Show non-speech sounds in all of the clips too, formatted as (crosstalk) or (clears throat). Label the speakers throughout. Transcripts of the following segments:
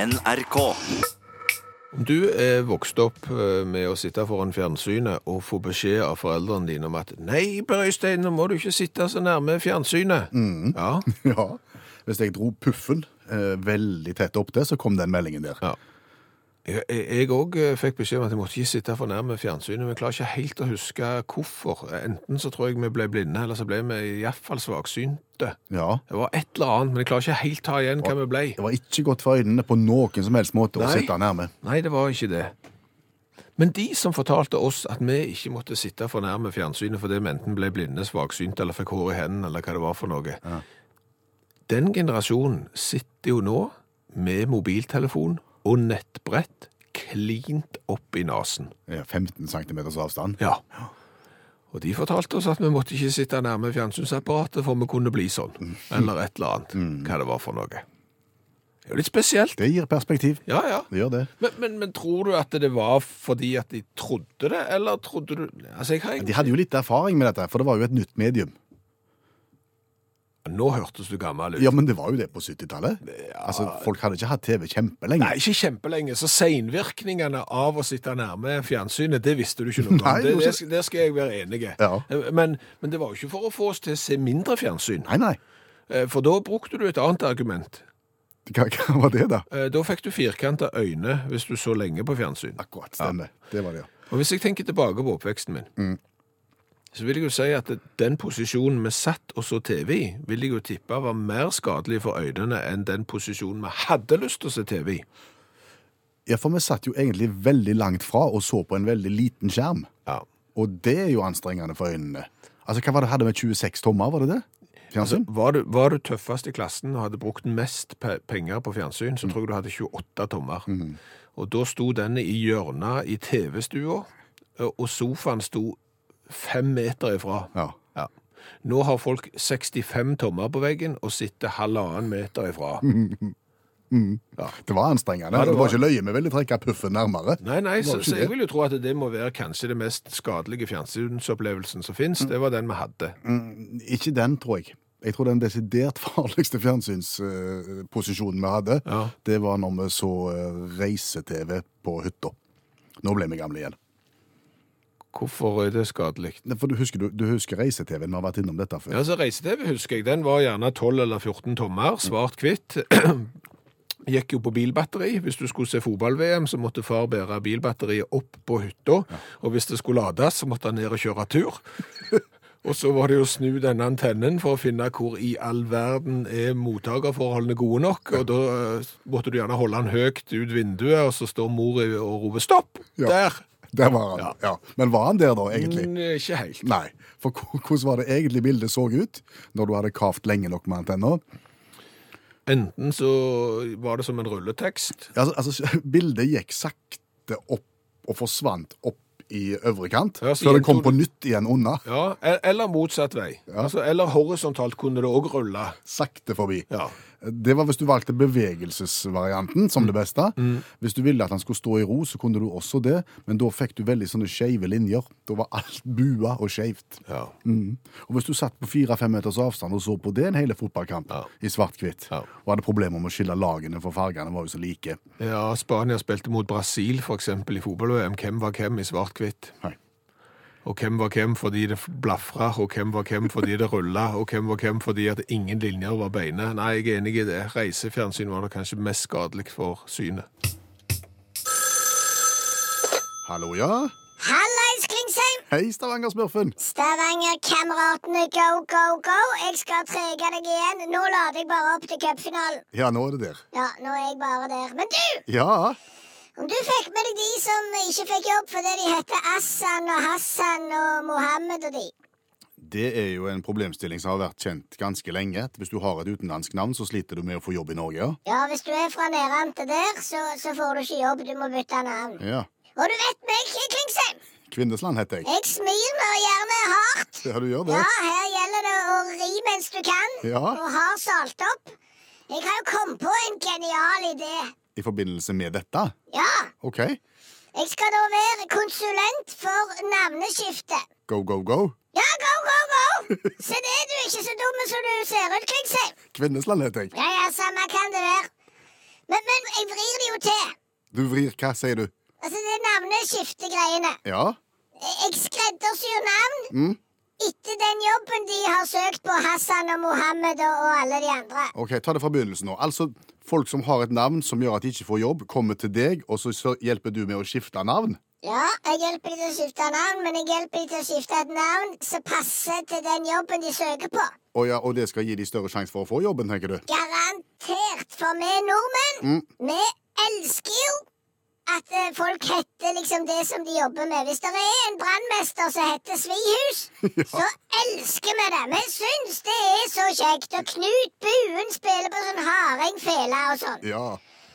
Speaker 1: NRK.
Speaker 2: Om du er vokst opp eh, med å sitte foran fjernsynet og få beskjed av foreldrene dine om at nei, Per Øystein, nå må du ikke sitte så nærme fjernsynet.
Speaker 3: Mm.
Speaker 2: Ja,
Speaker 3: (laughs) Ja. Hvis jeg dro puffen eh, veldig tett opp til, så kom den meldingen der.
Speaker 2: Ja. Jeg òg fikk beskjed om at jeg måtte ikke sitte for nærme fjernsynet. Men jeg klarer ikke helt å huske hvorfor. Enten så tror jeg vi ble blinde, eller så ble vi iallfall svaksynte.
Speaker 3: Ja.
Speaker 2: Det var et eller annet, men jeg klarer ikke helt ta igjen hva vi ble.
Speaker 3: Det var ikke godt for øynene på noen som helst måte å
Speaker 2: Nei.
Speaker 3: sitte nærme.
Speaker 2: Nei, det var ikke det. Men de som fortalte oss at vi ikke måtte sitte for nærme fjernsynet fordi vi enten ble blinde, svaksynte eller fikk hår i hendene, eller hva det var for noe Den generasjonen sitter jo nå med mobiltelefon og nettbrett klint opp i nesen.
Speaker 3: Ja, 15 cm avstand.
Speaker 2: Ja. Og de fortalte oss at vi måtte ikke sitte nærme fjernsynsapparatet, for vi kunne bli sånn. Eller et eller annet. Hva det var for noe. Det er jo litt spesielt.
Speaker 3: Det gir perspektiv.
Speaker 2: Ja, ja.
Speaker 3: Det gjør det.
Speaker 2: Men, men, men tror du at det var fordi at de trodde det, eller trodde du Altså, jeg har
Speaker 3: De
Speaker 2: egentlig
Speaker 3: hadde jo litt erfaring med dette, for det var jo et nytt medium.
Speaker 2: Nå hørtes du gammel ut.
Speaker 3: Ja, men det var jo det på 70-tallet. Altså, folk hadde ikke hatt TV kjempelenge.
Speaker 2: Nei, ikke kjempelenge. Så seinvirkningene av å sitte nærme fjernsynet, det visste du ikke noe om.
Speaker 3: Nei,
Speaker 2: det,
Speaker 3: jo,
Speaker 2: det,
Speaker 3: så-
Speaker 2: sk- der skal jeg være enig. Eh,
Speaker 3: Ja.
Speaker 2: Men, men det var jo ikke for å få oss til å se mindre fjernsyn.
Speaker 3: Nei, nei.
Speaker 2: Eh, For da brukte du et annet argument.
Speaker 3: Hva, hva var det, da?
Speaker 2: Eh, Da fikk du firkanta øyne hvis du så lenge på fjernsyn.
Speaker 3: Akkurat, stemmer. Det var det, ja.
Speaker 2: Og hvis jeg tenker tilbake på oppveksten min, så vil jeg jo si at den posisjonen vi satt og så TV i, vil jeg jo tippe var mer skadelig for øynene enn den posisjonen vi hadde lyst til å se TV i.
Speaker 3: Ja, for vi satt jo egentlig veldig langt fra og så på en veldig liten skjerm.
Speaker 2: Ja.
Speaker 3: Og det er jo anstrengende for øynene. Altså, hva var det hadde med 26 tommer, var det det? Fjernsyn?
Speaker 2: Altså, Var du, var du tøffest i klassen og hadde brukt mest pe penger på fjernsyn, så tror jeg du hadde 28 tommer. Og da sto den i hjørnet i TV-stua, og sofaen sto fem meter ifra.
Speaker 3: Ja.
Speaker 2: Ja. Nå har folk 65 tommer på veggen og sitter halvannen meter ifra.
Speaker 3: Det var anstrengende.
Speaker 2: Ja, det
Speaker 3: det, var...
Speaker 2: var-
Speaker 3: ikke løye, vi ville trekke puffen nærmere.
Speaker 2: Nei, nei,
Speaker 3: var
Speaker 2: så,
Speaker 3: jo ikke
Speaker 2: så jeg
Speaker 3: det.
Speaker 2: vil jo tro at det må være kanskje det mest skadelige fjernsynsopplevelsen som finnes. Det var den vi hadde.
Speaker 3: Mm. Ikke den, tror jeg. Jeg tror den desidert (laughs) farligste fjernsynsposisjonen vi hadde,
Speaker 2: Ja.
Speaker 3: det var når vi så eh, reise-TV på hytta. Nå ble vi gamle igjen.
Speaker 2: Hvorfor er det skadelig?
Speaker 3: Nei, For du husker, du, du husker reise-TV, vi har vært innom dette før.
Speaker 2: Ja, så Reise-TV husker jeg. Den var gjerne 12 eller 14 tommer, svart-hvitt. (clears throat) Gikk jo på bilbatteri. Hvis du skulle se fotball-VM, så måtte far bære bilbatteriet opp på hytta. Og hvis det skulle lades, så måtte han ned og kjøre tur. (laughs) Og så var det jo å snu denne antennen for å finne hvor i all verden er mottakerforholdene gode nok. Og da eh, måtte du gjerne holde han høyt ut vinduet, og så står mor i- og roper 'stopp!'
Speaker 3: Ja.
Speaker 2: Der!
Speaker 3: Der var han, ja. Men var han der da, egentlig?
Speaker 2: Mm, Ikke helt.
Speaker 3: Nei. For hvor- hvordan var det egentlig bildet så ut når du hadde kavt lenge nok med antenna?
Speaker 2: Enten så var det som en rulletekst.
Speaker 3: Altså, altså, (laughs) bildet gikk sakte opp og forsvant opp i øvre kant,
Speaker 2: Ja, så
Speaker 3: før det kom
Speaker 2: gjentok
Speaker 3: på nytt igjen unna.
Speaker 2: Ja, e- eller motsatt vei. Altså, eller horisontalt kunne det òg rulle.
Speaker 3: Sakte forbi.
Speaker 2: Ja. Mm.
Speaker 3: Det var hvis du valgte bevegelsesvarianten som det beste. Hvis du ville at han skulle stå i ro, så kunne du også det, men da fikk du veldig sånne skeive linjer. Da var alt (laughs) bua og skeivt.
Speaker 2: Ja.
Speaker 3: Mm. Og hvis du satt på fire-fem meters avstand og så på det en hele fotballkamp
Speaker 2: Ja.
Speaker 3: i svart-hvitt,
Speaker 2: Ja.
Speaker 3: og hadde problemer med å skille lagene, for fargene var jo så like.
Speaker 2: Spania spilte mot Brasil for eksempel i fotball-VM. Hvem var hvem i svart-hvitt?
Speaker 3: Nei.
Speaker 2: Og hvem var hvem fordi det blafra, og hvem var hvem fordi det rulla, og hvem var hvem fordi at ingen linjer var beine. Nei, jeg er enig i det. Reisefjernsyn var det kanskje mest skadelig for synet.
Speaker 3: Hallo, ja?
Speaker 4: Hallais, Klingsheim!
Speaker 3: Hei, Stavanger-smurfen!
Speaker 4: Stavanger-kameratene, go, go, go! Jeg skal trege deg igjen. Nå lader jeg bare opp til cupfinalen.
Speaker 3: Ja, nå er det der.
Speaker 4: Ja, nå er jeg bare der. Men du!
Speaker 3: Ja,
Speaker 4: Om du fikk med deg de som ikke fikk jobb fordi de heter Assan og Hassan og Mohammed og de.
Speaker 3: det er jo en problemstilling som har vært kjent ganske lenge. at Hvis du har et utenlandsk navn, så sliter du med å få jobb i Norge,
Speaker 4: Ja, hvis du er fra Nærante der, så, så får du ikke jobb. Du må bytte navn.
Speaker 3: ja? Ja.
Speaker 4: Og du vet meg, Klingsheim!
Speaker 3: Kvindesland heter jeg.
Speaker 4: Jeg smir meg gjerne hardt.
Speaker 3: Ja, du gjør
Speaker 4: Ja,
Speaker 3: det.
Speaker 4: her gjelder det å ri mens du kan,
Speaker 3: Ja.
Speaker 4: og har salt opp. Jeg har jo kommet på en genial idé.
Speaker 3: I forbindelse med dette?
Speaker 4: Ja,
Speaker 3: OK.
Speaker 4: jeg skal da være konsulent for navneskifte.
Speaker 3: Go, go, go.
Speaker 4: Ja, go, go, go! Se det, du er ikke så dum som du ser ut, Klingsheim.
Speaker 3: Kvinnesland heter jeg.
Speaker 4: Ja, ja, samme kan det være. Men, men jeg vrir noe til.
Speaker 3: Du vrir hva, sier du?
Speaker 4: Altså, det navneskiftegreiene.
Speaker 3: Ja?
Speaker 4: Jeg skreddersyr navn etter den jobben de har søkt på Hassan og Mohammed og, og alle de andre.
Speaker 3: Ok, ta det fra begynnelsen nå. Altså, folk som har et navn som gjør at de ikke får jobb, kommer til deg, og så så hjelper du med å skifte navn?
Speaker 4: Ja, jeg hjelper de til å skifte navn, men jeg hjelper de til å skifte et navn som passer til den jobben de søker på.
Speaker 3: Og, ja, og det skal gi de større sjanse for å få jobben, tenker du?
Speaker 4: Garantert, for vi nordmenn, vi elsker jo at eh, folk heter liksom det som de jobber med. Hvis det er en brannmester som heter Svihus, så elsker vi det. Vi syns det er så kjekt. Og Knut Buen spiller på sånn hardingfele og sånn.
Speaker 3: Ja.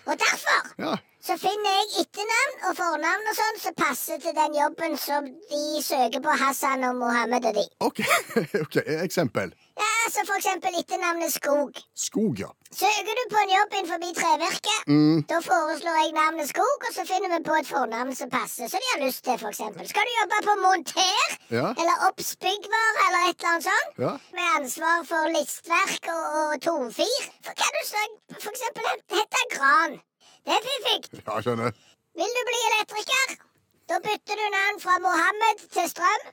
Speaker 4: Og derfor
Speaker 3: Ja.
Speaker 4: så finner jeg etternavn og fornavn og sånn som passer til den jobben som de søker på Hassan og Mohammed og de.
Speaker 3: Ok, (laughs) ok, eksempel.
Speaker 4: Ja, altså for eksempel etternavnet Skog.
Speaker 3: Skog, ja. Mm,
Speaker 4: Søker du på en jobb innenfor trevirket, da foreslår jeg navnet Skog, og så finner vi på et fornavn som passer, som de har lyst til, f.eks. Skal du jobbe på monter,
Speaker 3: Ja.
Speaker 4: eller oppsbyggvare, eller et eller annet sånt,
Speaker 3: Ja.
Speaker 4: med ansvar for listverk og, og tomfir, så kan du så f.eks. hete Gran. Det er fiffig.
Speaker 3: Ja, skjønner.
Speaker 4: Vil du bli elektriker? Da bytter du navn fra Mohammed til Strøm.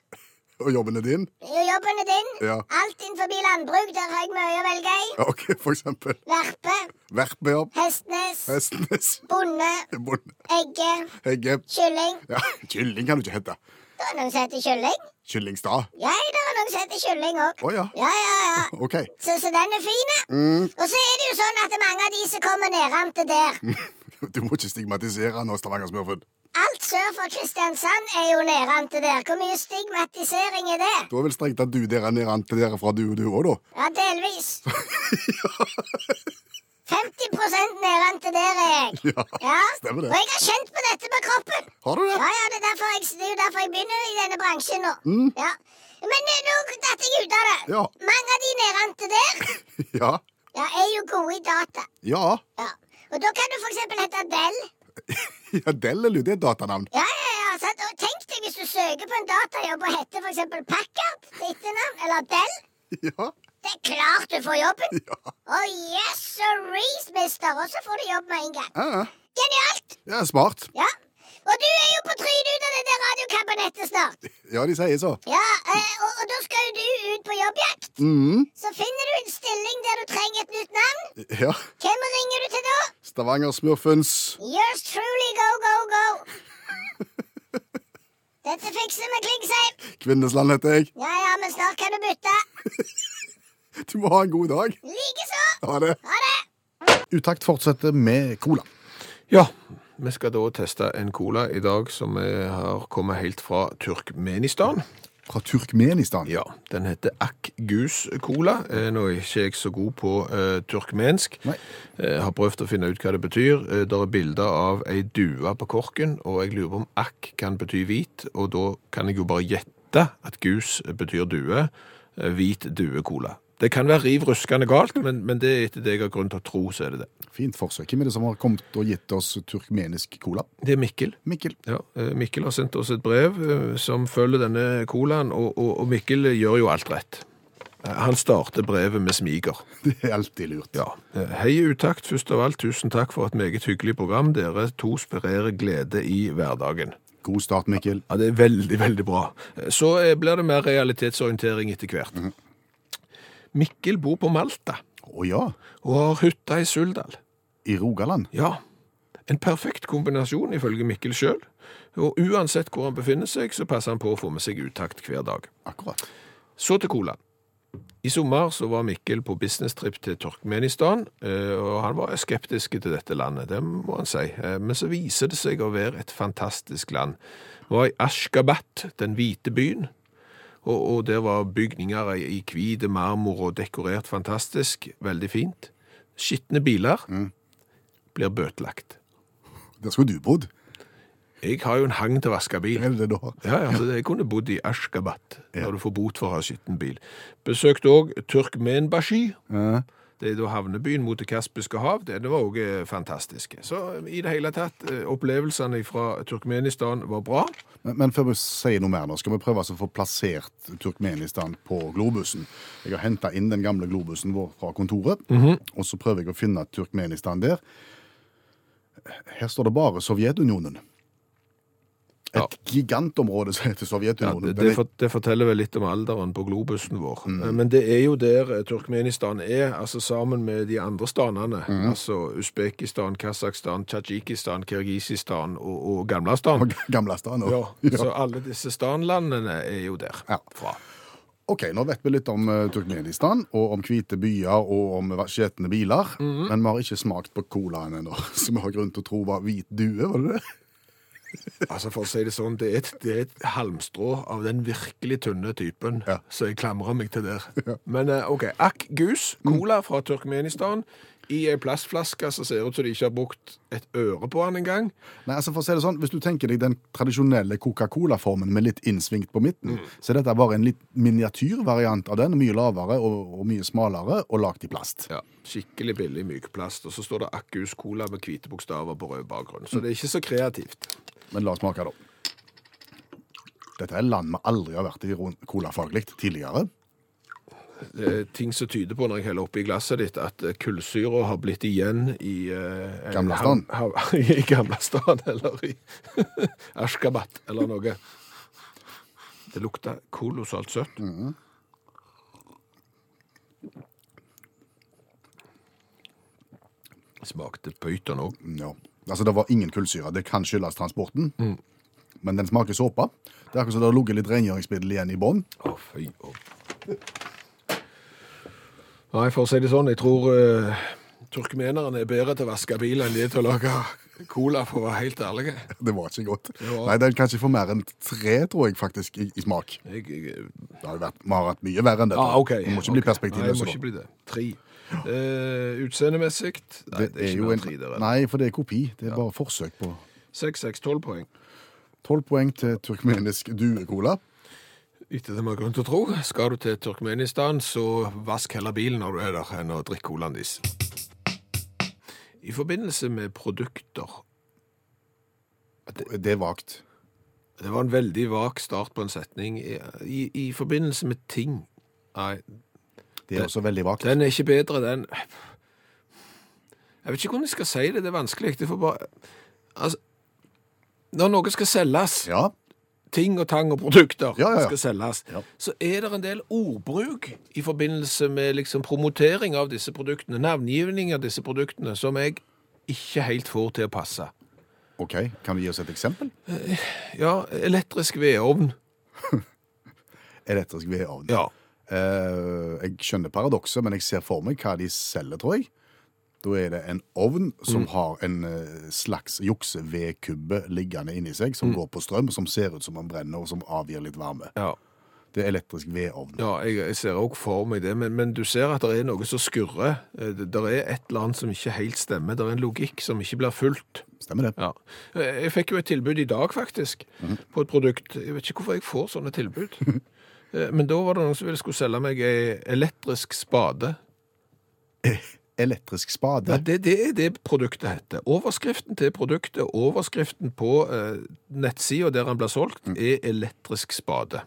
Speaker 3: Og jobben er din?
Speaker 4: Det er jo jobben er din.
Speaker 3: Ja.
Speaker 4: Alt innenfor landbruk, der har jeg mye å velge i.
Speaker 3: Ja, ok, for eksempel.
Speaker 4: Verpe,
Speaker 3: Verpejobb.
Speaker 4: Hestnes,
Speaker 3: Hestenes.
Speaker 4: Bonde,
Speaker 3: Bonde.
Speaker 4: Egge,
Speaker 3: Egge.
Speaker 4: Kylling.
Speaker 3: Ja, kylling kan du ikke hete.
Speaker 4: Det er noen som heter Kylling.
Speaker 3: Kyllingstad.
Speaker 4: Ja, det er noen som heter Kylling òg.
Speaker 3: Å ja.
Speaker 4: Ja, ja, ja.
Speaker 3: Ok.
Speaker 4: Så, så den er fin. ja.
Speaker 3: Mm.
Speaker 4: Og så er det jo sånn at mange av de som kommer nedrant der
Speaker 3: Mm. Du må ikke stigmatisere nå, Stavanger-smurfen.
Speaker 4: Alt sør for Kristiansand er jo nedrant der. Hvor mye stigmatisering er det?
Speaker 3: Da er vel strengt at du der er nede an til dere fra du og du òg, da.
Speaker 4: Ja,
Speaker 3: (laughs)
Speaker 4: delvis. 50 nedrente der er jeg.
Speaker 3: Ja.
Speaker 4: Ja,
Speaker 3: Stemmer det.
Speaker 4: Og jeg har kjent på dette med kroppen.
Speaker 3: Har du det?
Speaker 4: Ja, ja, Det er, derfor jeg, det er jo derfor jeg begynner i denne bransjen nå. Ja. Men eh, nå datt jeg ut av det.
Speaker 3: Mm. Ja.
Speaker 4: Mange av de nedrente der
Speaker 3: Ja.
Speaker 4: ja, er jo gode i data.
Speaker 3: Ja.
Speaker 4: Ja. Og da kan du f.eks. hete Dell.
Speaker 3: ja Dell er lurt. Det er et datanavn.
Speaker 4: Ja, ja, ja, sant? Og tenk deg hvis du søker på en datajobb og heter f.eks. Packard til etternavn, eller Dell.
Speaker 3: Ja.
Speaker 4: Det er klart du får jobben.
Speaker 3: Ja.
Speaker 4: Og yes, sorries, mister. Og så får du jobb med en gang.
Speaker 3: Ja, ja.
Speaker 4: Genialt!
Speaker 3: ja smart.
Speaker 4: Ja. Og du er jo på trynet ut av det der radiokabinettet snart.
Speaker 3: Ja, de sier så.
Speaker 4: Ja, eh, og, og da skal jo du ut på jobbjakt.
Speaker 3: Mhm.
Speaker 4: Så finner du en stilling der du trenger et nytt navn.
Speaker 3: Ja.
Speaker 4: Hvem ringer du til da?
Speaker 3: Stavanger-smurfens
Speaker 4: Yours truly go, go, go. Dette fikser vi, Klingsheim.
Speaker 3: Kvinnesland heter jeg.
Speaker 4: Ja, ja, men snart kan du bytte.
Speaker 3: Du må ha en god dag.
Speaker 4: Likeså.
Speaker 3: Ha det.
Speaker 4: Ha det.
Speaker 3: Utakt fortsetter med cola.
Speaker 2: Ja, vi skal da teste en cola i dag som eh, har kommet helt fra Turkmenistan.
Speaker 3: Fra Turkmenistan.
Speaker 2: Ja, den heter Akgus Cola. Eh, Nå er ikke jeg så god på eh, turkmensk.
Speaker 3: Nei.
Speaker 2: Eh, har prøvd å finne ut hva det betyr. Eh, der er bilder av ei due på korken, og jeg lurer på om akk kan bety hvit, og da kan jeg jo bare gjette at gus betyr due. Eh, hvit due-cola. Det kan være riv ruskende galt, men, men det er etter det jeg har grunn til å tro, så er det det.
Speaker 3: Fint forsøk. Hvem er det som har kommet og gitt oss turkmenisk cola?
Speaker 2: Det er Mikkel.
Speaker 3: Mikkel. (laughs)
Speaker 2: Ja, eh, Mikkel har sendt oss et brev eh, som følger denne colaen, og, og, og Mikkel gjør jo alt rett. Eh, Han starter brevet med smiger.
Speaker 3: Det er alltid lurt.
Speaker 2: Ja. Eh, Hei, utakt. Først av alt, tusen takk for et meget hyggelig program. Dere to spirerer glede i hverdagen.
Speaker 3: God start, Mikkel.
Speaker 2: Ja, det er veldig, veldig bra. Eh, Så eh, blir det mer realitetsorientering etter hvert. Mikkel bor på Malta
Speaker 3: Å ja,
Speaker 2: og har hytta i Suldal.
Speaker 3: i Rogaland.
Speaker 2: Ja. En perfekt kombinasjon, ifølge Mikkel sjøl. Og uansett hvor han befinner seg, så passer han på å få med seg utakt hver dag.
Speaker 3: Akkurat.
Speaker 2: Så til cola. I sommer så var Mikkel på businesstrip til Turkmenistan, eh, og han var skeptisk til dette landet, det må han si. Eh, Men så viser det seg å være et fantastisk land. Vi var i Ashkabat, den hvite byen, og, og der var bygninger i, i hvite marmor og dekorert fantastisk, veldig fint. Skitne biler blir bøtelagt.
Speaker 3: Der skulle du bodd.
Speaker 2: Jeg har jo en hang til å vaske bil.
Speaker 3: Er det det da?
Speaker 2: Ja, ja, så jeg kunne bodd i Ashkabat, når du får bot for å ha skitten bil. Besøkte òg Turkmenbashi.
Speaker 3: Ja.
Speaker 2: Det er da havnebyen mot Det kaspiske hav. Det det var òg eh, fantastisk. Så eh, i det hele tatt, eh, opplevelsene fra Turkmenistan var bra.
Speaker 3: Men, men før vi sier noe mer nå, skal vi prøve altså å få plassert Turkmenistan på globusen. Jeg har henta inn den gamle
Speaker 2: Mhm.
Speaker 3: globusen vår fra kontoret, og så prøver jeg å finne Turkmenistan der. Her står det bare Sovjetunionen. Et
Speaker 2: Ja.
Speaker 3: gigantområde som heter
Speaker 2: Ja,
Speaker 3: Sovjetunionen.
Speaker 2: det,
Speaker 3: Den
Speaker 2: det,
Speaker 3: er-
Speaker 2: fort- det forteller vel litt om alderen på globusen vår. Eh, Men det er jo der eh, Turkmenistan er, altså sammen med de andre stanene. Altså Usbekistan, Kasakhstan, Tadsjikistan, Kirgisistan og, og Gamlastan.
Speaker 3: Gamle stan. og-
Speaker 2: (laughs) Ja, så alle disse stanlandene er jo der
Speaker 3: Ja.
Speaker 2: fra.
Speaker 3: Ok, nå vet vi litt om eh, Turkmenistan, og om hvite byer, og om skjetne biler.
Speaker 2: Mhm.
Speaker 3: Men vi har ikke smakt på colaen ennå, (laughs) så vi har grunn til å tro var hvit due, var det det?
Speaker 2: Altså For å si det sånn, det er et, det er et halmstrå av den virkelig tynne typen,
Speaker 3: Ja.
Speaker 2: så jeg klamrer meg til der. Men eh, OK. Akk Gus, cola fra Turkmenistan. I ei plastflaske så ser det ut som de ikke har brukt et øre på den engang.
Speaker 3: Nei, altså for å si det sånn, Hvis du tenker deg den tradisjonelle Coca-Cola-formen med litt innsvingt på
Speaker 2: Mhm.
Speaker 3: midten, så er dette bare en litt miniatyrvariant av den, mye lavere og, og mye smalere, og lagd i plast.
Speaker 2: Ja, Skikkelig billig mykplast. Og så står det Akkus Cola med hvite bokstaver på rød bakgrunn. Så det er ikke så kreativt.
Speaker 3: Men la oss smake, da. Dette er land vi aldri har vært i rund- colafaglig tidligere.
Speaker 2: Det er eh, ting som tyder på når jeg heller oppi glasset ditt, at eh, kullsyra har blitt igjen i eh, en
Speaker 3: Gamlastan.
Speaker 2: ham- ham- (laughs) I Gamlastan, eller i (laughs) Ashkabat, eller noe. Det lukter kolossalt søtt. Smakte pøyter nå.
Speaker 3: Ja. Altså, det var ingen kullsyre. Det kan skyldes transporten.
Speaker 2: Mm.
Speaker 3: Men den smaker såpe. Det er akkurat som det har ligget litt rengjøringsmiddel igjen i bånn. (laughs)
Speaker 2: Å, fy. å. Nei, for å si det sånn, jeg tror uh, turkmenerne er bedre til å vaske bil enn de er til å lage cola, for å være helt ærlig.
Speaker 3: Det var ikke godt.
Speaker 2: var-
Speaker 3: Nei, den kan ikke få mer enn tre, tror jeg, faktisk, i, i smak.
Speaker 2: Jeg, jeg,
Speaker 3: Det har jo vært, vi har hatt mye verre enn dette.
Speaker 2: ah, ok.
Speaker 3: Vi må ikke
Speaker 2: ok.
Speaker 3: bli perspektivløse.
Speaker 2: Nei, jeg må
Speaker 3: nå.
Speaker 2: ikke bli det. Tre. Uh, Utseendemessig Nei, det er, ikke mer enn tre der.
Speaker 3: Nei, for det er kopi. Det er bare forsøk på
Speaker 2: Seks, seks, tolv poeng.
Speaker 3: Tolv poeng til turkmenisk duecola.
Speaker 2: Ikke det vi har grunn til å tro. Skal du til Turkmenistan, så vask heller bilen når du er der, enn å drikke colaen deres. I forbindelse med produkter
Speaker 3: Det er vagt.
Speaker 2: Det var en veldig vag start på en setning. I, i, i forbindelse med ting Nei,
Speaker 3: Det er også veldig vagt.
Speaker 2: den er ikke bedre, den. Jeg vet ikke hvordan jeg skal si det. Det er vanskelig. Det får bare Altså Når noe skal selges,
Speaker 3: Ja.
Speaker 2: ting og tang og produkter
Speaker 3: Ja, ja, ja.
Speaker 2: skal selges,
Speaker 3: Ja.
Speaker 2: så er det en del ordbruk i forbindelse med liksom promotering av disse produktene, navngivning av disse produktene, som jeg ikke helt får til å passe.
Speaker 3: OK, kan du gi oss et eksempel?
Speaker 2: Ja, elektrisk vedovn.
Speaker 3: Elektrisk vedovn.
Speaker 2: Ja.
Speaker 3: Eh, jeg skjønner paradokset, men jeg ser for meg hva de selger, tror jeg. Da er det en ovn som
Speaker 2: Mm.
Speaker 3: har en eh, slags juksevedkubbe liggende inni seg, som
Speaker 2: Mm.
Speaker 3: går på strøm, som ser ut som den brenner, og som avgir litt varme.
Speaker 2: ja.
Speaker 3: Det er elektrisk vedovn.
Speaker 2: Ja, jeg, jeg ser også for meg det, men, men du ser at det er noe som skurrer. Eh, Det det er et eller annet som ikke helt stemmer. Det er en logikk som ikke blir fulgt.
Speaker 3: Stemmer det?
Speaker 2: Ja. Mhm. Eh, Jeg fikk jo et tilbud i dag, faktisk, på et produkt. Jeg vet ikke hvorfor jeg får sånne tilbud. (laughs) Eh, men da var det noen som ville skulle selge meg ei elektrisk spade.
Speaker 3: Elektrisk
Speaker 2: Ja,
Speaker 3: spade.
Speaker 2: det, det er det produktet heter. Overskriften til produktet, overskriften på eh, nettsida der han blir solgt, er elektrisk spade.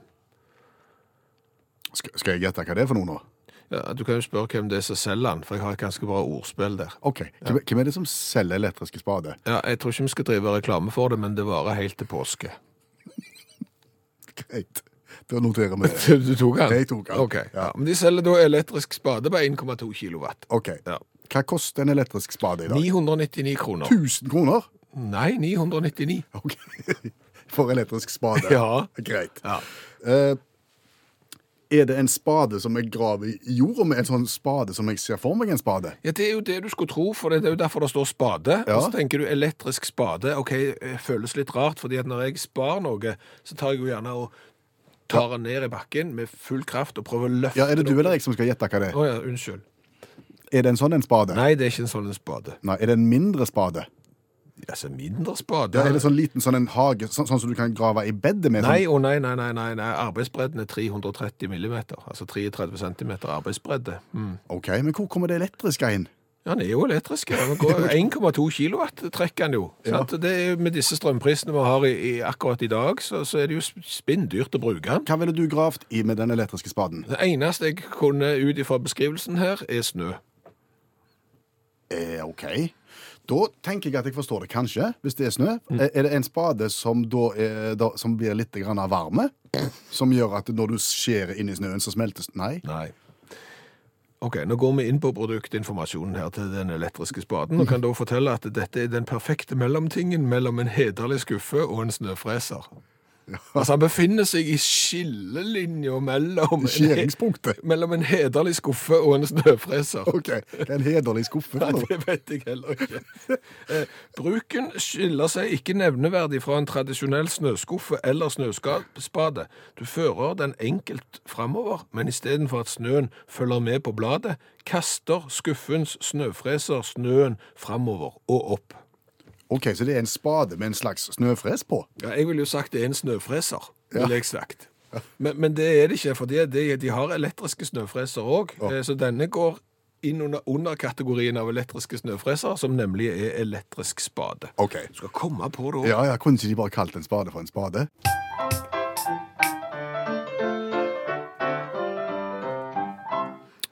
Speaker 3: Sk skal jeg gjette hva det er for noe nå?
Speaker 2: Ja, du kan jo spørre hvem det er som selger den, for jeg har et ganske bra ordspill der.
Speaker 3: Ok, hvem, hvem er det som selger elektriske spade?
Speaker 2: Ja, jeg tror ikke vi skal drive reklame for det, men det varer helt til påske.
Speaker 3: (laughs) Greit, da noterer
Speaker 2: (laughs)
Speaker 3: vi det.
Speaker 2: (laughs) Du tok den?
Speaker 3: Jeg tok den.
Speaker 2: Ok, ja.
Speaker 3: Ja.
Speaker 2: Men de selger da elektrisk spade på 1,2 kilowatt.
Speaker 3: Ok,
Speaker 2: Ja.
Speaker 3: hva koster en elektrisk spade i dag?
Speaker 2: 999 kroner.
Speaker 3: 1000 kroner?
Speaker 2: Nei, 999.
Speaker 3: Ok, (laughs) for elektrisk spade.
Speaker 2: Ja.
Speaker 3: Greit.
Speaker 2: Ja.
Speaker 3: Eh, er det en spade som jeg graver i jorda med? En sånn spade som jeg ser for meg en spade?
Speaker 2: Ja, Det er jo det du skulle tro, for det er jo derfor det står spade.
Speaker 3: Ja.
Speaker 2: Og så tenker du elektrisk spade. Ok, eh, føles litt rart, fordi at når jeg sparer noe, så tar jeg jo gjerne og tar den ned i bakken med full kraft og prøver å løfte
Speaker 3: Ja, Er det du
Speaker 2: opp.
Speaker 3: eller jeg som skal gjette hva det er?
Speaker 2: Å ja, unnskyld.
Speaker 3: Er det en sånn en spade?
Speaker 2: Nei, det er ikke en sånn en spade.
Speaker 3: Nei, Er det en mindre spade?
Speaker 2: Altså, mindre spade?
Speaker 3: Ja, er det sånn liten sånn en hage, sånn, sånn som du kan grave i bedet med?
Speaker 2: Nei og nei, nei, nei, nei, nei. Arbeidsbredden er 330 millimeter. Altså 33 centimeter arbeidsbredde. Mm.
Speaker 3: Sånn? Ok, Men hvor kommer det elektriske inn?
Speaker 2: Ja, den er jo elektrisk. ja. Den går 1,2 kilowatt trekker den jo. sant? Det er, jo- med disse strømprisene vi har i, i, akkurat i dag, så, så er det jo sp- spinndyrt å bruke den.
Speaker 3: Hva ville du gravd i med den elektriske spaden?
Speaker 2: Det eneste jeg kunne ut ifra beskrivelsen her, er snø.
Speaker 3: Eh, ok. Da tenker jeg at jeg forstår det kanskje, hvis det er snø.
Speaker 2: Mm.
Speaker 3: Eh, Er det en spade som, da er, da, som blir litt grann av varme? Som gjør at når du skjærer inn i snøen, så smeltes Nei.
Speaker 2: Nei. Ok, nå går vi inn på produktinformasjonen her til den elektriske spaden, og kan da fortelle at dette er den perfekte mellomtingen mellom en hederlig skuffe og en snøfreser. Altså, han befinner seg i skillelinja mellom, en he-
Speaker 3: Skjæringspunktet.
Speaker 2: (laughs) mellom en hederlig skuffe og en snøfreser.
Speaker 3: OK. Det er en hederlig skuffe.
Speaker 2: Nei,
Speaker 3: for noe.
Speaker 2: det vet jeg heller ikke. Eh, bruken skiller seg ikke nevneverdig fra en tradisjonell snøskuffe eller snøskapspade. Du fører den enkelt framover, men istedenfor at snøen følger med på bladet, kaster skuffens snøfreser snøen framover og opp.
Speaker 3: OK, så det er en spade med en slags snøfres på?
Speaker 2: Ja, jeg ville jo sagt det er en snøfreser, ville jeg sagt. Men, men det er det ikke, for de, de, de har elektriske snøfreser òg. Så denne går inn under, under kategorien av elektriske snøfreser, som nemlig er elektrisk spade.
Speaker 3: OK.
Speaker 2: Du skal komme på det òg.
Speaker 3: Ja, ja, Kunne ikke de bare kalt en spade for en spade?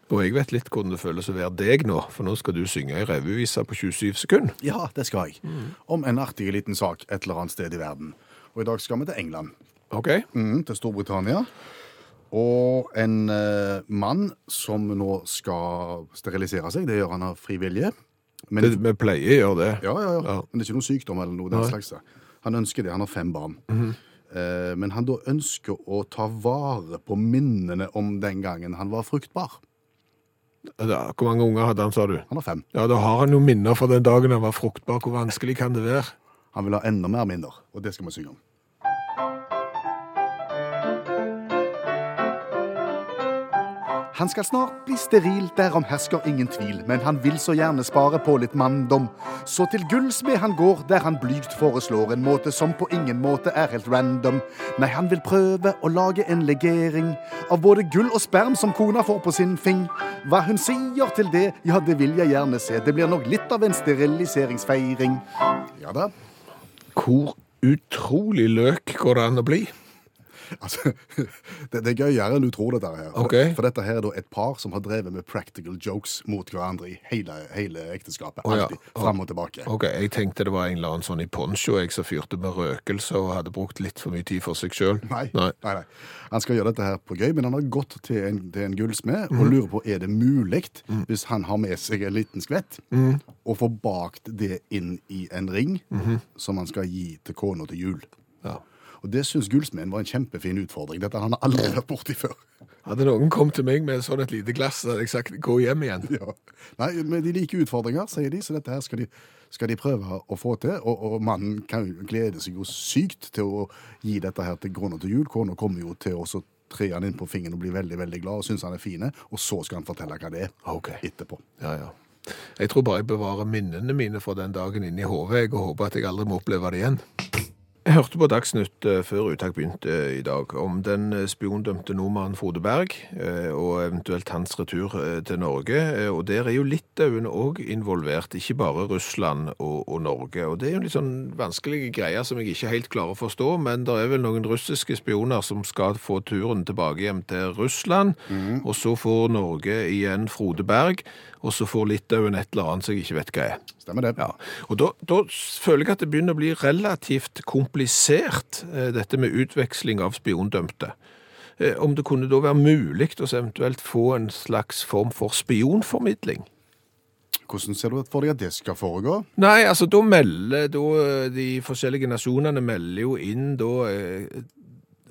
Speaker 2: Og jeg vet litt hvordan det føles å være deg nå, for nå skal du synge i revyvisa på 27 sekunder.
Speaker 3: Ja, det skal jeg. Om en artig liten sak et eller annet sted i verden. Og i dag skal vi til England.
Speaker 2: OK?
Speaker 3: Mm, til Storbritannia. Og en eh, mann som nå skal sterilisere seg. Det gjør han av fri vilje. Men,
Speaker 2: Det, vi pleier å gjøre det.
Speaker 3: ja, ja, ja.
Speaker 2: Ja.
Speaker 3: men det er ikke noe sykdom eller noe den slags. Han ønsker det. Han har fem barn. Eh, men han da ønsker å ta vare på minnene om den gangen han var fruktbar.
Speaker 2: Da, hvor mange unger hadde han, sa du?
Speaker 3: Han har fem.
Speaker 2: Ja, da har han jo minner fra den dagen han var fruktbar. Hvor vanskelig kan det være?
Speaker 3: Han vil ha enda mer minner, og det skal vi synge om. Han skal snart bli steril, derom hersker ingen tvil, men han vil så gjerne spare på litt manndom. Så til gullsmed han går, der han blygt foreslår en måte som på ingen måte er helt random. Nei, han vil prøve å lage en legering av både gull og sperm som kona får på sin fing. Hva hun sier til det, ja, det vil jeg gjerne se, det blir nok litt av en steriliseringsfeiring. Ja da.
Speaker 2: Hvor utrolig løk går det an å bli?
Speaker 3: Altså, (laughs) det, det er gøyere enn du tror dette her. For,
Speaker 2: Ok.
Speaker 3: for dette her er da et par som har drevet med practical jokes mot hverandre i hele, hele ekteskapet.
Speaker 2: Å, ja.
Speaker 3: Alltid. Fram og tilbake.
Speaker 2: Ok, jeg tenkte det var en eller annen sånn i poncho jeg som fyrte med røkelse og hadde brukt litt for mye tid for seg sjøl.
Speaker 3: Nei, nei, nei. Han skal gjøre dette her på gøy, men han har gått til en, til en gullsmed
Speaker 2: Mhm.
Speaker 3: og lurer på er det mulig, hvis han har med seg en liten skvett,
Speaker 2: Mhm.
Speaker 3: å få bakt det inn i en ring som han skal gi til kona til jul.
Speaker 2: Mhm. Ja.
Speaker 3: Og Det syns gullsmeden var en kjempefin utfordring. Dette har han aldri vært borti før.
Speaker 2: Hadde noen kommet til meg med sånn et lite glass, så hadde jeg sagt gå hjem igjen.
Speaker 3: (laughs) Ja. Nei, men De liker utfordringer, sier de, så dette her skal de, skal de prøve å få til. Og, og mannen kan jo glede seg jo sykt til å gi dette her til kona til jul. Kona kommer jo til å så tre han inn på fingeren og bli veldig veldig glad og synes han er fine. Og så skal han fortelle hva det er
Speaker 2: Ok.
Speaker 3: etterpå.
Speaker 2: Ja, ja. Jeg tror bare jeg bevarer minnene mine fra den dagen inni hodet, jeg, og håper at jeg aldri må oppleve det igjen. Jeg hørte på Dagsnytt eh, før uttak begynte eh, i dag om den eh, spiondømte nordmannen Frode Berg, eh, og eventuelt hans retur eh, til Norge. eh, Og der er jo Litauen òg involvert, ikke bare Russland og, og Norge. Og det er jo litt sånn vanskelige greier som jeg ikke helt klarer å forstå, men det er vel noen russiske spioner som skal få turen tilbake hjem til Russland, og så får Norge igjen Frode Berg, og så får Litauen et eller annet som jeg ikke vet hva er.
Speaker 3: Stemmer det?
Speaker 2: Ja, og da, da føler jeg at det begynner å bli relativt komplisert, eh, dette med utveksling av spiondømte. Eh, Om det kunne da være mulig å så eventuelt få en slags form for spionformidling?
Speaker 3: Hvordan ser du for deg at det skal foregå?
Speaker 2: Nei, altså da melder da, eh, de forskjellige nasjonene melder jo inn da eh,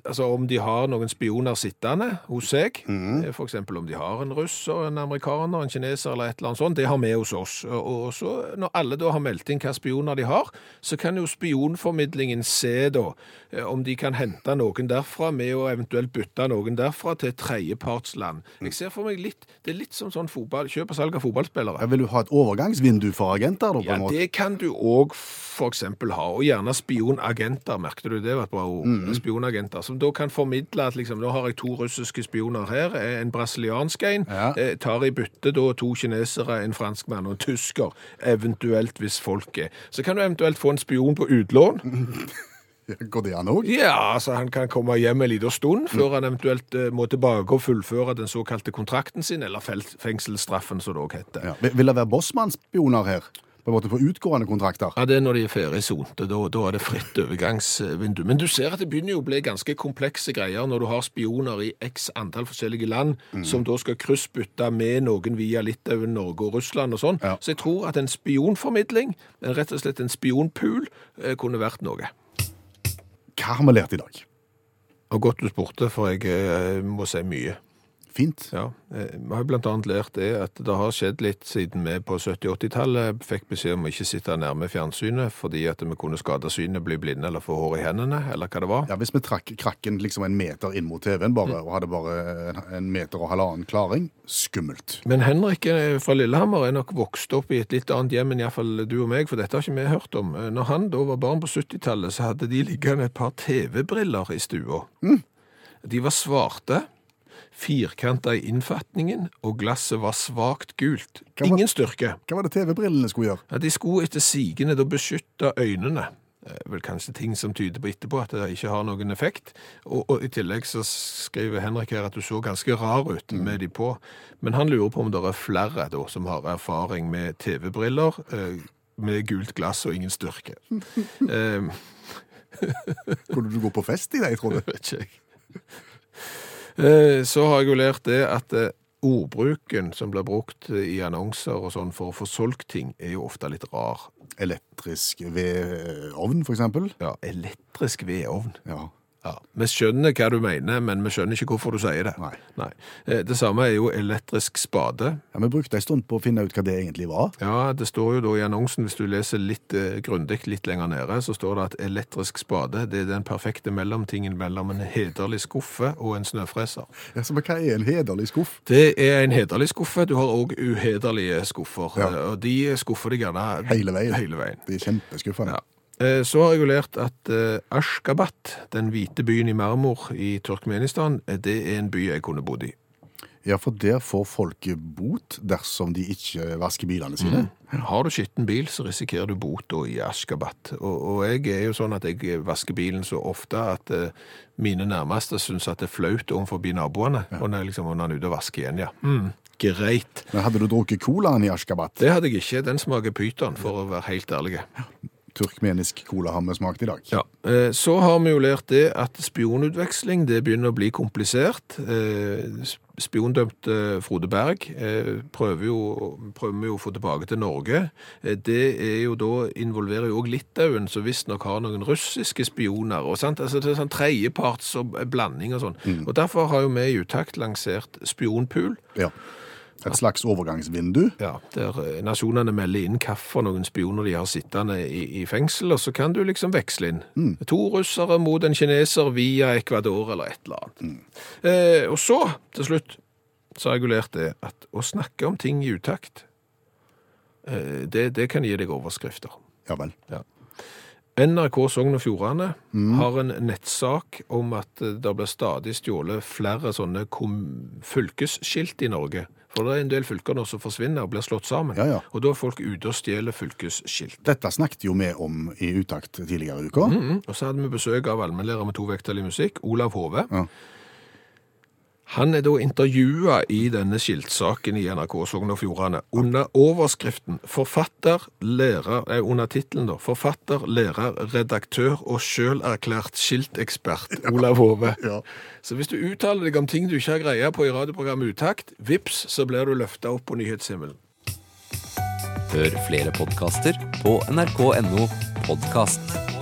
Speaker 2: Altså om de har noen spioner sittende hos seg, eh, for eksempel om de har en russer, en amerikaner, en kineser eller et eller annet sånt, det har vi hos oss. Og og så når alle da har meldt inn hva spioner de har, så kan jo spionformidlingen se da eh, om de kan hente noen derfra med å eventuelt bytte noen derfra til et tredjepartsland. Jeg ser for meg litt, det er litt som sånn fotball, kjøp og salg av fotballspillere.
Speaker 3: Ja, Vil du ha et overgangsvindu for agenter? da, på
Speaker 2: Ja,
Speaker 3: en måte?
Speaker 2: det kan du òg f.eks. ha, og gjerne spionagenter, merket du det var et bra ord?
Speaker 3: Mm.
Speaker 2: Spionagenter, Som da kan formidle at liksom, nå har jeg to russiske spioner her, eh, en brasiliansk en,
Speaker 3: Ja.
Speaker 2: eh, tar i bytte da to kinesere, en franskmann og en tysker, eventuelt hvis folk er Så kan du eventuelt få en spion på utlån.
Speaker 3: Mhm. Går det an òg?
Speaker 2: Ja, altså han kan komme hjem en liten stund
Speaker 3: Mm.
Speaker 2: før han eventuelt eh, må tilbake og fullføre den såkalte kontrakten sin, eller fel- fengselsstraffen, som det òg heter.
Speaker 3: Ja. Vil vil det være bossmannsspioner her? På på en måte på utgående kontrakter.
Speaker 2: Ja, Det er når de er ferdigsonte. Da, da er det fritt overgangsvindu. Men du ser at det begynner jo å bli ganske komplekse greier når du har spioner i x antall forskjellige land, som da skal kryssbytte med noen via Litauen, Norge og Russland og sånn.
Speaker 3: Ja.
Speaker 2: Så jeg tror at en spionformidling, eh, rett og slett en spionpool, eh, kunne vært noe.
Speaker 3: Hva har vi lært i dag?
Speaker 2: Og godt du spurte, for jeg eh, må si mye.
Speaker 3: Fint.
Speaker 2: Ja, eh, Vi har jo blant annet lært det at det har skjedd litt siden vi på 70-80-tallet fikk beskjed om å ikke sitte nærme fjernsynet fordi at vi kunne skade synet, bli blinde eller få hår i hendene, eller hva det var.
Speaker 3: Ja, Hvis vi trakk krakken liksom en meter inn mot TV-en
Speaker 2: Mm.
Speaker 3: bare, og hadde bare en, en meter og halvannen klaring, skummelt.
Speaker 2: Men Henrik eh, fra Lillehammer er nok vokst opp i et litt annet hjem enn iallfall du og meg, for dette har ikke vi hørt om. Eh, Når han da var barn på 70-tallet, så hadde de liggende et par TV-briller i stua.
Speaker 3: Mm.
Speaker 2: De var svarte, firkanta i innfatningen, og glasset var svakt gult.
Speaker 3: Hva var-
Speaker 2: Ingen styrke.
Speaker 3: Hva var det TV-brillene skulle gjøre?
Speaker 2: Ja, de skulle etter sigende da beskytte øynene. Eh, Vel kanskje ting som tyder på etterpå at det ikke har noen effekt. Og, og i tillegg så skriver Henrik her at du så ganske rar ut med de på. Men han lurer på om det er flere da som har erfaring med TV-briller eh, med gult glass og ingen styrke. Eh,
Speaker 3: Kunne du gå på fest i det,
Speaker 2: (laughs)
Speaker 3: tror du?
Speaker 2: vet ikke jeg. Eh, Så har jeg jo lært det at eh, ordbruken som blir brukt i annonser og sånn for å få solgt ting, er jo ofte litt rar.
Speaker 3: Elektrisk vedovn, for eksempel?
Speaker 2: Ja, elektrisk vedovn.
Speaker 3: Ja.
Speaker 2: Ja, Vi skjønner hva du mener, men vi skjønner ikke hvorfor du sier det.
Speaker 3: Nei.
Speaker 2: Eh, Det samme er jo elektrisk spade.
Speaker 3: ja. Vi brukte en stund på å finne ut hva det egentlig var.
Speaker 2: Ja, Det står jo da i annonsen, hvis du leser litt eh, grundig litt lenger nede, så står det at elektrisk spade det er den perfekte mellomtingen mellom en hederlig skuffe og en snøfreser.
Speaker 3: Ja, så men Hva er en hederlig skuff?
Speaker 2: Det er en hederlig skuffe. Du har òg uhederlige skuffer.
Speaker 3: Ja.
Speaker 2: eh, Og de skuffer deg gjerne
Speaker 3: Hele veien.
Speaker 2: Hele veien.
Speaker 3: Det er kjempeskuffende.
Speaker 2: Ja. Eh, Så har jeg jo lært at eh, Ashgabat, den hvite byen i marmor i Turkmenistan, eh, det er en by jeg kunne bodd i.
Speaker 3: Ja, for der får folk bot dersom de ikke vasker bilene sine.
Speaker 2: Har du skitten bil, så risikerer du bot da i Ashgabat. Og, og jeg er jo sånn at jeg vasker bilen så ofte at eh, mine nærmeste syns at det er flaut overfor naboene. Og når jeg liksom når han er ute og vasker igjen, ja. Mm, greit.
Speaker 3: Men hadde du drukket colaen i Ashkabat?
Speaker 2: Det hadde jeg ikke. Den smaker pyton, for å være helt ærlig.
Speaker 3: Turkmenisk cola har vi smakt i dag.
Speaker 2: Ja. eh, Så har vi jo lært det at spionutveksling det begynner å bli komplisert. Eh, sp- Spiondømte Frode Berg eh, prøver, jo, prøver vi jo å få tilbake til Norge. Eh, Det er jo da, involverer jo òg Litauen, som visstnok har noen russiske spioner. og sant? Altså, Det er sånn tredjeparts og blanding og sånn. Og Derfor har jo vi i Utakt lansert Spionpool.
Speaker 3: Ja. Et slags overgangsvindu.
Speaker 2: Ja, der eh, nasjonene melder inn hva for noen spioner de har sittende i, i fengsel, og så kan du liksom veksle inn. To russere mot en kineser via Ecuador eller et eller annet. Eh, og så, til slutt, så har jeg jo lært det at å snakke om ting i utakt, eh, det, det kan gi deg overskrifter.
Speaker 3: Ja vel.
Speaker 2: NRK Sogn og Fjordane har en nettsak om at eh, det blir stadig stjålet flere sånne kom fylkesskilt i Norge. For det er en del fylker nå som forsvinner og blir slått sammen.
Speaker 3: Ja, ja.
Speaker 2: Og da er folk ute og stjeler fylkesskilt.
Speaker 3: Dette snakket jo vi om i utakt tidligere i uka.
Speaker 2: Mm. Og så hadde vi besøk av allmennlærer med tovektig musikk, Olav Hove.
Speaker 3: Ja.
Speaker 2: Han er da intervjua i denne skiltsaken i NRK Sogn og Fjordane under overskriften 'Forfatter, lærer' eh, under tittelen, da. 'Forfatter, lærer, redaktør og sjølerklært skiltekspert' Olav Hove.
Speaker 3: (laughs) Ja.
Speaker 2: Så hvis du uttaler deg om ting du ikke har greie på i radioprogrammet Utakt, vips, så blir du løfta opp på nyhetshimmelen.
Speaker 1: Hør flere podkaster på nrk.no podkast.